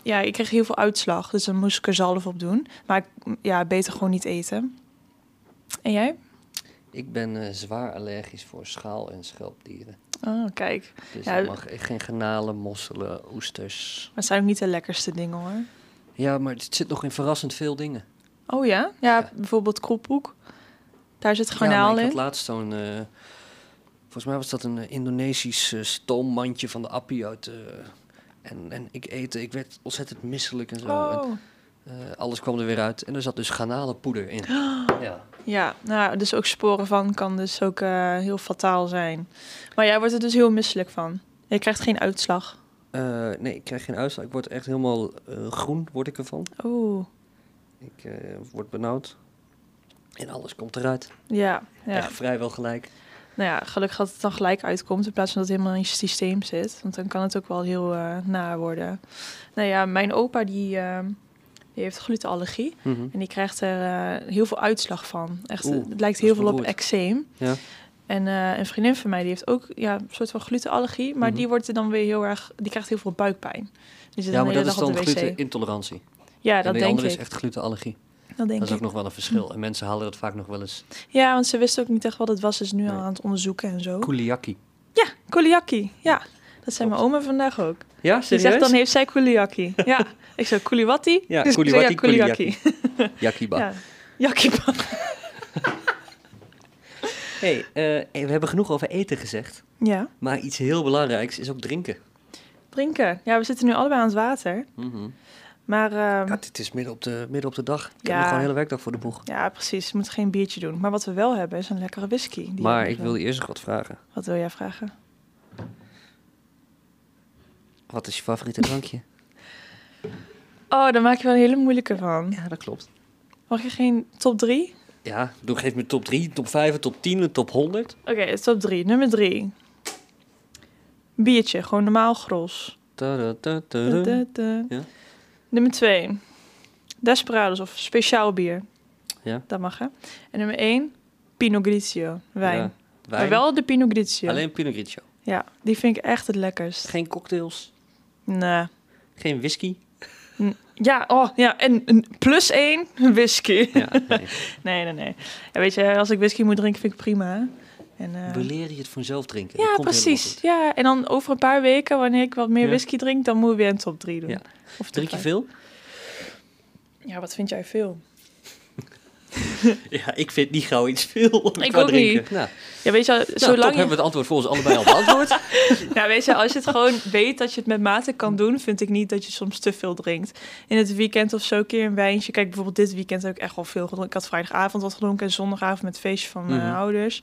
Speaker 2: Ja, ik kreeg heel veel uitslag, dus dan moest ik er zalf op doen. Maar ik- mm, ja, beter gewoon niet eten. En jij?
Speaker 1: Ik ben eh, zwaar allergisch voor schaal- en schelpdieren.
Speaker 2: Oh, kijk.
Speaker 1: Dus
Speaker 2: Ja,
Speaker 1: ik mag echt geen granalen, mosselen, oesters.
Speaker 2: Maar het zijn ook niet de lekkerste dingen, hoor.
Speaker 1: Ja, maar het zit nog in verrassend veel dingen.
Speaker 2: Oh ja? Ja,
Speaker 1: Ja.
Speaker 2: bijvoorbeeld kroephoek. Daar zit
Speaker 1: ja,
Speaker 2: garnaal
Speaker 1: maar ik
Speaker 2: in.
Speaker 1: had laatst zo'n... eh, volgens mij was dat een eh, Indonesisch eh, stoommandje van de appie uit... eh, en, en ik eet, ik werd ontzettend misselijk en zo. En,
Speaker 2: Oh.
Speaker 1: eh, alles kwam er weer uit. En er zat dus granalenpoeder in. Ja.
Speaker 2: Ja, nou, dus ook sporen van kan dus ook eh, heel fataal zijn. Maar jij wordt er dus heel misselijk van. Je krijgt geen uitslag.
Speaker 1: Eh, nee, ik krijg geen uitslag. Ik word echt helemaal eh, groen, word ik ervan.
Speaker 2: Oh,
Speaker 1: Ik eh, word benauwd. En alles komt eruit.
Speaker 2: ja. ja.
Speaker 1: Echt vrijwel gelijk.
Speaker 2: Nou ja, gelukkig dat het dan gelijk uitkomt in plaats van dat het helemaal in je systeem zit. Want dan kan het ook wel heel eh, naar worden. Nou ja, mijn opa die, ehm, die heeft glutenallergie.
Speaker 1: Mhm.
Speaker 2: En die krijgt er eh, heel veel uitslag van. Echt,
Speaker 1: Oeh,
Speaker 2: het lijkt
Speaker 1: dat is
Speaker 2: heel veel op
Speaker 1: beroerd.
Speaker 2: eczeem.
Speaker 1: Ja.
Speaker 2: En eh, een vriendin van mij die heeft ook ja, een soort van glutenallergie. Maar
Speaker 1: Mhm.
Speaker 2: die wordt er dan weer heel erg. Die krijgt heel veel buikpijn. Dus Die zit
Speaker 1: Ja,
Speaker 2: dan
Speaker 1: maar
Speaker 2: de
Speaker 1: dat
Speaker 2: hele
Speaker 1: is
Speaker 2: dag op
Speaker 1: dan
Speaker 2: de wc.
Speaker 1: glutenintolerantie.
Speaker 2: Ja,
Speaker 1: en
Speaker 2: dat
Speaker 1: de
Speaker 2: denk
Speaker 1: andere
Speaker 2: ik.
Speaker 1: is echt glutenallergie.
Speaker 2: Dat denk
Speaker 1: Dat is
Speaker 2: ik.
Speaker 1: ook nog wel een verschil. En mensen halen dat vaak nog wel eens.
Speaker 2: Ja, want ze wisten ook niet echt wat het was. Ze is nu al
Speaker 1: Nee.
Speaker 2: aan het onderzoeken en zo.
Speaker 1: Kuliaki.
Speaker 2: Ja, kouliaki. Ja, dat zei mijn oma vandaag ook.
Speaker 1: Ja,
Speaker 2: Die
Speaker 1: serieus?
Speaker 2: zegt dan heeft zij kouliaki. Ja, ik zei kouliwatti.
Speaker 1: Ja,
Speaker 2: Dus ik zei,
Speaker 1: kouliwatti,
Speaker 2: kouliaki.
Speaker 1: Yakiba.
Speaker 2: Ja, yakiba.
Speaker 1: Hey, eh, we hebben genoeg over eten gezegd.
Speaker 2: Ja,
Speaker 1: Maar iets heel belangrijks is ook drinken.
Speaker 2: drinken. Ja, we zitten nu allebei aan het water.
Speaker 1: Mhm.
Speaker 2: Maar ehm,
Speaker 1: Ja, het is midden op, de, midden op de dag. Ik heb
Speaker 2: Ja.
Speaker 1: nog gewoon een hele werkdag voor de boeg.
Speaker 2: ja, precies. Je moet geen biertje doen. Maar wat we wel hebben is een lekkere whisky. Die
Speaker 1: maar
Speaker 2: hebben
Speaker 1: ik
Speaker 2: we.
Speaker 1: wilde eerst nog wat vragen.
Speaker 2: Wat wil jij vragen?
Speaker 1: Wat is je favoriete drankje?
Speaker 2: Oh, daar maak je wel een hele moeilijke van.
Speaker 1: Ja, dat klopt.
Speaker 2: Mag je geen top 3?
Speaker 1: Ja, doe, geef me top 3, top 5, top 10 en top 100.
Speaker 2: Oké, top 3. Nummer 3. Biertje, gewoon normaal gros.
Speaker 1: Tada, tada,
Speaker 2: Da,
Speaker 1: tada.
Speaker 2: da, da.
Speaker 1: Ja.
Speaker 2: Nummer 2. Desperados of speciaal bier.
Speaker 1: Ja.
Speaker 2: Dat mag hè. En nummer 1. Pinot Grigio, wijn.
Speaker 1: Ja,
Speaker 2: Maar
Speaker 1: wijn.
Speaker 2: wel de Pinot Grigio.
Speaker 1: Alleen Pinot Grigio.
Speaker 2: Ja, die vind ik echt het lekkerst.
Speaker 1: Geen cocktails,
Speaker 2: Nee.
Speaker 1: geen whisky.
Speaker 2: Ja, oh ja, en een plus 1 whisky.
Speaker 1: Ja, nee.
Speaker 2: Nee, nee, nee. Ja, weet je, als ik whisky moet drinken, vind ik het prima. En, eh,
Speaker 1: We leren je het vanzelf drinken. Dat
Speaker 2: ja,
Speaker 1: komt helemaal
Speaker 2: precies.
Speaker 1: goed.
Speaker 2: Ja, en dan over een paar weken, wanneer ik wat meer
Speaker 1: Ja.
Speaker 2: whisky drink, dan moet je weer een top 3 doen.
Speaker 1: Ja.
Speaker 2: Of
Speaker 1: Drink je
Speaker 2: top
Speaker 1: veel?
Speaker 2: vijf. Ja, wat vind jij veel?
Speaker 1: Ja, ik vind niet gauw iets veel.
Speaker 2: Ik
Speaker 1: qua
Speaker 2: ook
Speaker 1: drinken.
Speaker 2: niet.
Speaker 1: Nou,
Speaker 2: Ja, weet je,
Speaker 1: nou, top
Speaker 2: zolang
Speaker 1: hebben we
Speaker 2: je,
Speaker 1: het antwoord voor ons allebei al beantwoord.
Speaker 2: ja, Nou, weet je, als je het gewoon weet dat je het met mate kan doen, vind ik niet dat je soms te veel drinkt. In het weekend of zo een keer een wijntje. Kijk, bijvoorbeeld dit weekend heb ik echt wel veel gedronken. Ik had vrijdagavond wat gedronken en zondagavond met het feestje van mijn
Speaker 1: Mhm.
Speaker 2: ouders.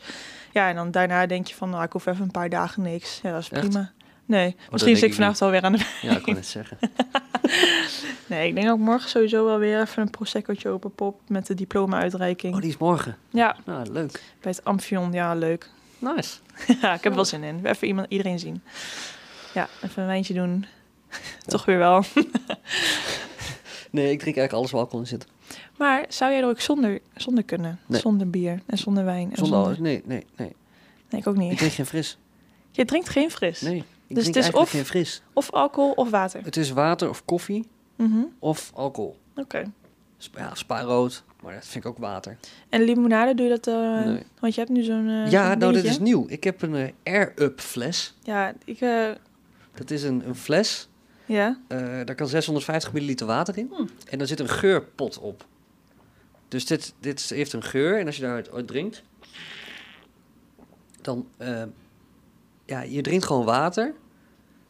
Speaker 2: Ja, en dan daarna denk je van, nou, ik hoef even een paar dagen niks. Ja, dat is
Speaker 1: Echt? Oh,
Speaker 2: prima. Nee, misschien
Speaker 1: denk
Speaker 2: zit ik
Speaker 1: ik
Speaker 2: vanavond alweer aan de
Speaker 1: Ja, ik kan het zeggen.
Speaker 2: Nee, ik denk dat ik morgen sowieso wel weer even een proseccootje openpop met de diploma-uitreiking.
Speaker 1: Oh, die is morgen.
Speaker 2: Ja,
Speaker 1: Nou, leuk.
Speaker 2: bij het Amphion. Ja, leuk.
Speaker 1: Nice.
Speaker 2: ja, ik
Speaker 1: Oh.
Speaker 2: heb er wel zin in. Even iemand, iedereen zien. Ja, even een wijntje doen. Toch weer wel.
Speaker 1: Nee, ik drink eigenlijk alles waar alcohol in zit.
Speaker 2: Maar zou jij er ook zonder, zonder kunnen?
Speaker 1: Nee.
Speaker 2: Zonder bier en zonder wijn? En
Speaker 1: Zonder alles? Nee, nee, nee.
Speaker 2: Nee, ik ook
Speaker 1: Ik
Speaker 2: niet.
Speaker 1: drink geen fris.
Speaker 2: Je drinkt geen fris.
Speaker 1: Nee. Ik
Speaker 2: Dus het is
Speaker 1: drink eigenlijk
Speaker 2: of-
Speaker 1: geen fris.
Speaker 2: Of alcohol of water.
Speaker 1: Het is water of koffie
Speaker 2: Mhm,
Speaker 1: of alcohol.
Speaker 2: Oké.
Speaker 1: Sp ja, spaarrood. Maar dat vind ik ook water.
Speaker 2: En limonade, doe je dat? eh,
Speaker 1: Nee.
Speaker 2: Want je hebt nu zo'n. eh,
Speaker 1: ja, nou,
Speaker 2: zo'n
Speaker 1: dit
Speaker 2: dingetje.
Speaker 1: is nieuw. Ik heb een eh, Air-Up fles.
Speaker 2: Ja, ik. eh,
Speaker 1: Dat is een, een fles.
Speaker 2: ja.
Speaker 1: Eh, daar kan 650 milliliter water in. En daar zit een geurpot op. Dus dit, dit heeft een geur. En als je daaruit uit drinkt... Dan... eh, ja, je drinkt gewoon water.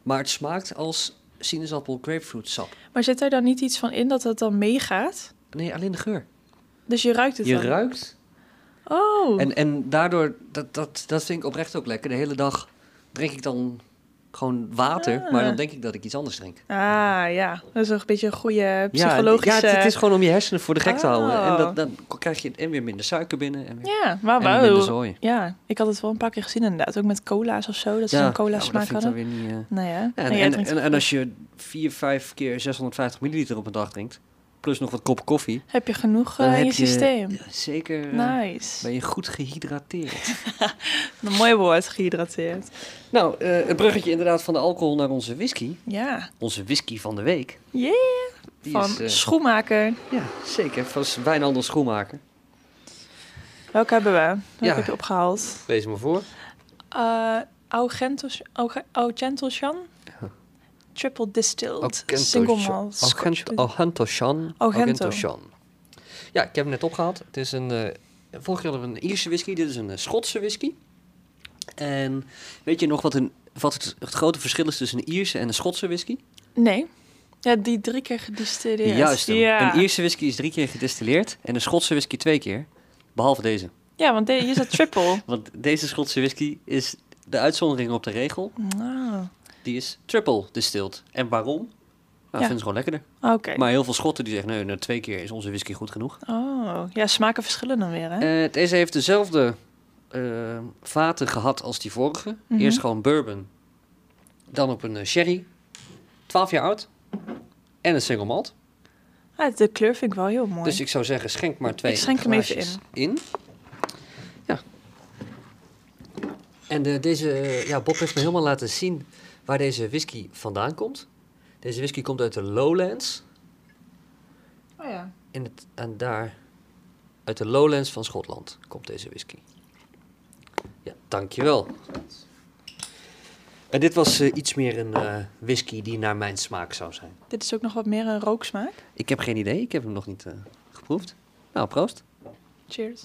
Speaker 1: Maar het smaakt als sinaasappel grapefruit sap.
Speaker 2: Maar zit er dan niet iets van in dat dat dan meegaat?
Speaker 1: Nee, alleen de geur.
Speaker 2: Dus je ruikt het
Speaker 1: Je
Speaker 2: dan?
Speaker 1: ruikt.
Speaker 2: Oh.
Speaker 1: En, en daardoor... Dat, dat, dat vind ik oprecht ook lekker. De hele dag drink ik dan gewoon water.
Speaker 2: Ah.
Speaker 1: Maar dan denk ik dat ik iets anders drink.
Speaker 2: Ah ja, dat is een beetje een goede
Speaker 1: Ja,
Speaker 2: psychologische...
Speaker 1: Ja, het, het is gewoon om je hersenen voor de gek te houden. En
Speaker 2: Oh.
Speaker 1: dat, dan krijg je en weer minder suiker binnen. En weer
Speaker 2: Ja, maar
Speaker 1: En minder
Speaker 2: wauw.
Speaker 1: zooi.
Speaker 2: Ja, ik had het wel een paar keer gezien inderdaad. Ook met cola's of zo, dat ze
Speaker 1: Ja,
Speaker 2: een cola
Speaker 1: ja, maar
Speaker 2: smaak
Speaker 1: dat vind
Speaker 2: hadden.
Speaker 1: ik dan weer niet, eh.
Speaker 2: Nee, hè?
Speaker 1: Ja, en,
Speaker 2: nee, jij
Speaker 1: en,
Speaker 2: drinkt-
Speaker 1: en, en als je 4, 5 keer 650 milliliter op een dag drinkt, plus nog wat kop koffie,
Speaker 2: Heb je genoeg eh,
Speaker 1: dan
Speaker 2: in
Speaker 1: heb
Speaker 2: je systeem?
Speaker 1: ja, zeker eh,
Speaker 2: Nice.
Speaker 1: ben je goed gehydrateerd.
Speaker 2: Een mooi woord, gehydrateerd.
Speaker 1: nou, eh, het bruggetje inderdaad van de alcohol naar onze whisky.
Speaker 2: Ja.
Speaker 1: Onze whisky van de week.
Speaker 2: Yeah.
Speaker 1: Die
Speaker 2: Van
Speaker 1: is, eh,
Speaker 2: schoenmaker.
Speaker 1: ja, zeker. Van Wijnhandel Schoenmaker.
Speaker 2: Welke hebben we? Welke
Speaker 1: Ja.
Speaker 2: heb je opgehaald?
Speaker 1: Wees maar voor.
Speaker 2: Eh Augento, Auge- Augento Shan? Triple distilled. single malt. Scotch whisky.
Speaker 1: Augentoshan.
Speaker 2: Augento.
Speaker 1: Ja, ik heb hem net opgehaald. Het is een, eh vorig jaar hadden we een Ierse whisky. Dit is een eh, Schotse whisky. En weet je nog wat, een, wat het, het grote verschil is tussen een Ierse en een Schotse whisky?
Speaker 2: Nee. Ja, die drie keer gedistilleerd.
Speaker 1: Juist. hem.
Speaker 2: Ja.
Speaker 1: Een Ierse whisky is drie keer gedistilleerd en een Schotse whisky twee keer. Behalve deze.
Speaker 2: Ja, want de- hier staat triple.
Speaker 1: Want deze Schotse whisky is de uitzondering op de regel.
Speaker 2: Ah,
Speaker 1: Die is triple distilled. En waarom? Nou, dat vinden ze gewoon lekkerder.
Speaker 2: Oké.
Speaker 1: Maar heel veel Schotten die zeggen, nee, nou, twee keer is onze whisky goed genoeg.
Speaker 2: Oh, ja, smaken verschillen dan weer, hè?
Speaker 1: Eh, deze heeft dezelfde eh, vaten gehad als die vorige.
Speaker 2: Mhm.
Speaker 1: Eerst gewoon bourbon, dan op een eh, sherry. 12 jaar oud en een single malt.
Speaker 2: Ah, de kleur vind ik wel heel mooi.
Speaker 1: Dus ik zou zeggen, schenk maar twee
Speaker 2: Ik schenk hem even
Speaker 1: glaasjes in. Ja. En de, deze, eh, ja, Bob heeft me helemaal laten zien waar deze whisky vandaan komt. Deze whisky komt uit de Lowlands.
Speaker 2: Oh ja.
Speaker 1: in het, en daar, uit de lowlands van Schotland, komt deze whisky. Ja, dankjewel. En dit was eh, iets meer een eh, whisky die naar mijn smaak zou zijn.
Speaker 2: Dit is ook nog wat meer een rooksmaak.
Speaker 1: Ik heb geen idee, ik heb hem nog niet eh, geproefd. Nou, proost.
Speaker 2: Cheers.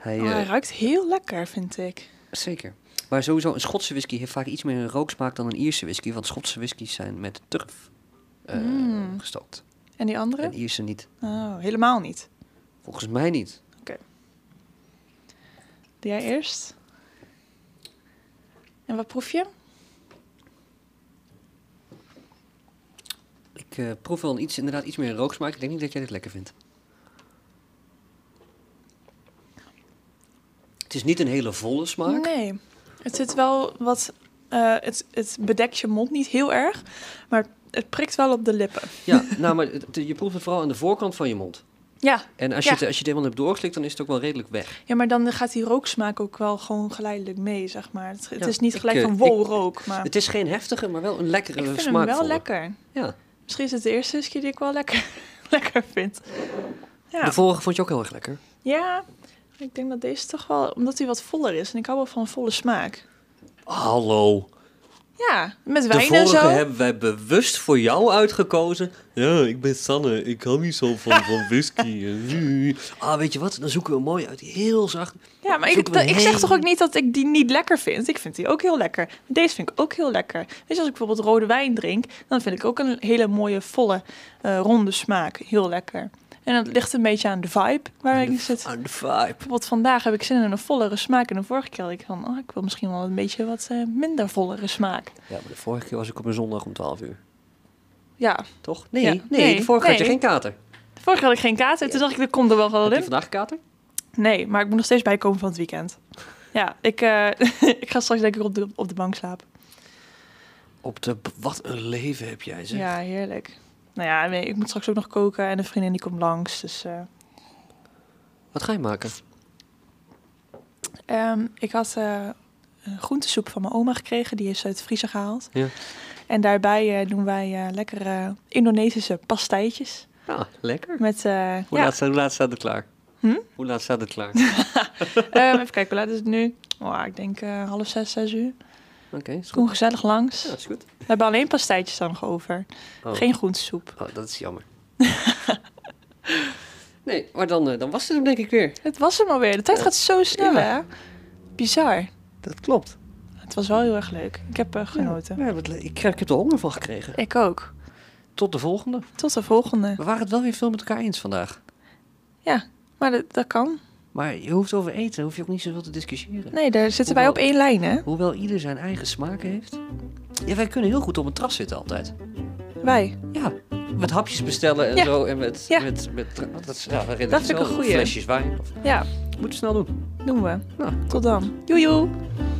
Speaker 1: Hij,
Speaker 2: Oh,
Speaker 1: eh,
Speaker 2: hij ruikt heel lekker, vind ik.
Speaker 1: Zeker. Maar sowieso, een Schotse whisky heeft vaak iets meer een rooksmaak dan een Ierse whisky. Want Schotse whiskies zijn met turf eh,
Speaker 2: Mm.
Speaker 1: gestookt.
Speaker 2: En die andere?
Speaker 1: En Ierse niet.
Speaker 2: Oh, helemaal niet.
Speaker 1: Volgens mij niet.
Speaker 2: Doe jij eerst? En wat proef je?
Speaker 1: Ik eh, proef wel een iets, inderdaad iets meer een rooksmaak. Ik denk niet dat jij dit lekker vindt. Het is niet een hele volle smaak.
Speaker 2: Nee. Het zit wel wat... eh, het, het bedekt je mond niet heel erg, maar het prikt wel op de lippen.
Speaker 1: Ja, nou, maar het- je proeft het vooral aan de voorkant van je mond.
Speaker 2: Ja,
Speaker 1: En als,
Speaker 2: Ja.
Speaker 1: je, het, als je het helemaal hebt doorgeslikt, dan is het ook wel redelijk weg.
Speaker 2: ja maar dan gaat die rooksmaak ook wel gewoon geleidelijk mee, zeg maar. Het, het
Speaker 1: Ja,
Speaker 2: is niet
Speaker 1: ik,
Speaker 2: gelijk
Speaker 1: eh,
Speaker 2: van wow,
Speaker 1: ik- eh,
Speaker 2: rook, maar
Speaker 1: Het is geen heftige, maar wel een
Speaker 2: ik
Speaker 1: lekkere smaak.
Speaker 2: vind hem wel lekker.
Speaker 1: Ja.
Speaker 2: Misschien is het de eerste whisky die ik wel lekker, lekker vind. Ja.
Speaker 1: De vorige vond je ook heel erg lekker.
Speaker 2: ja, ik denk dat deze toch wel... Omdat hij wat voller is en ik hou wel van een volle smaak.
Speaker 1: Hallo.
Speaker 2: Ja, met
Speaker 1: De
Speaker 2: wijn en
Speaker 1: vorige
Speaker 2: zo.
Speaker 1: hebben wij bewust voor jou uitgekozen.
Speaker 3: Ja, ik ben Sanne. Ik hou niet zo van, van whisky.
Speaker 1: Ah, weet je wat? Dan zoeken we hem mooi uit. Heel zacht.
Speaker 2: Ja, maar ik,
Speaker 1: Zoeken we
Speaker 2: ik zeg toch ook
Speaker 1: heel-
Speaker 2: niet dat ik die niet lekker vind. Ik vind die ook heel lekker. Deze vind ik ook heel lekker. Weet je, als ik bijvoorbeeld rode wijn drink, dan vind ik ook een hele mooie, volle, eh, ronde smaak. Heel lekker. En dat ligt een beetje aan de vibe waar ik in zit.
Speaker 1: Aan de vibe.
Speaker 2: Bijvoorbeeld vandaag heb ik zin in een vollere smaak. En de vorige keer had ik van, oh, ik wil misschien wel een beetje wat eh, minder vollere smaak.
Speaker 1: Ja, maar de vorige keer was ik op een zondag om 12 uur.
Speaker 2: Ja,
Speaker 1: Toch? Nee,
Speaker 2: Ja.
Speaker 1: nee,
Speaker 2: Nee,
Speaker 1: de vorige keer had je
Speaker 2: nee.
Speaker 1: geen kater.
Speaker 2: de vorige keer had ik geen kater. Toen dacht ik, er komt er wel wel
Speaker 1: Had je
Speaker 2: in.
Speaker 1: vandaag kater?
Speaker 2: Nee, maar ik moet nog steeds bijkomen van het weekend. Ja, ik, eh, ik ga straks lekker op de, op de bank slapen.
Speaker 1: Op de... Wat een leven heb jij, zeg.
Speaker 2: Ja, heerlijk. Nou ja, nee, ik moet straks ook nog koken en een vriendin die komt langs. Dus, eh.
Speaker 1: Wat ga je maken?
Speaker 2: Ehm, ik had eh, een groentesoep van mijn oma gekregen. Die is uit de vriezer gehaald.
Speaker 1: Ja.
Speaker 2: En daarbij eh, doen wij eh, lekkere Indonesische pastijtjes.
Speaker 1: Nou, lekker.
Speaker 2: Met, eh,
Speaker 1: Hoe,
Speaker 2: ja,
Speaker 1: laat, staat- hoe laat staat het klaar?
Speaker 2: Hm?
Speaker 1: Hoe laat staat het klaar? Oké,
Speaker 2: ehm, even kijken, hoe laat is het nu? Oh, ik denk eh, half zes, zes uur.
Speaker 1: is goed.
Speaker 2: Kom gezellig langs.
Speaker 1: Ja, is goed.
Speaker 2: We hebben alleen pastijtjes dan nog over.
Speaker 1: Oh.
Speaker 2: Geen groentesoep.
Speaker 1: Oh, dat is jammer. nee, maar dan, eh, dan was het hem denk ik weer.
Speaker 2: Het was hem alweer. De tijd gaat zo snel,
Speaker 1: Ja.
Speaker 2: hè? Bizar.
Speaker 1: Dat klopt.
Speaker 2: Het was wel heel erg leuk. Ik heb eh, genoten.
Speaker 1: ik, ik heb er honger van gekregen.
Speaker 2: Ik ook.
Speaker 1: Tot de volgende.
Speaker 2: Tot de volgende.
Speaker 1: We waren het wel weer veel met elkaar eens vandaag.
Speaker 2: Ja, maar dat, dat kan.
Speaker 1: Maar je hoeft over eten, hoef je ook niet zoveel te discussiëren.
Speaker 2: Nee, daar zitten wij op één lijn, hè?
Speaker 1: Hoewel ieder zijn eigen smaken heeft. Ja, wij kunnen heel goed op een terras zitten altijd.
Speaker 2: Wij.
Speaker 1: Ja, met hapjes bestellen en
Speaker 2: Ja.
Speaker 1: zo. En met,
Speaker 2: Ja.
Speaker 1: met, met, dat is, ja, we
Speaker 2: Dat vind ik een goeie.
Speaker 1: Flesjes wijn. Of,
Speaker 2: Ja,
Speaker 1: moet je snel doen.
Speaker 2: doen we.
Speaker 1: Nou,
Speaker 2: Tot dan. Joejoe.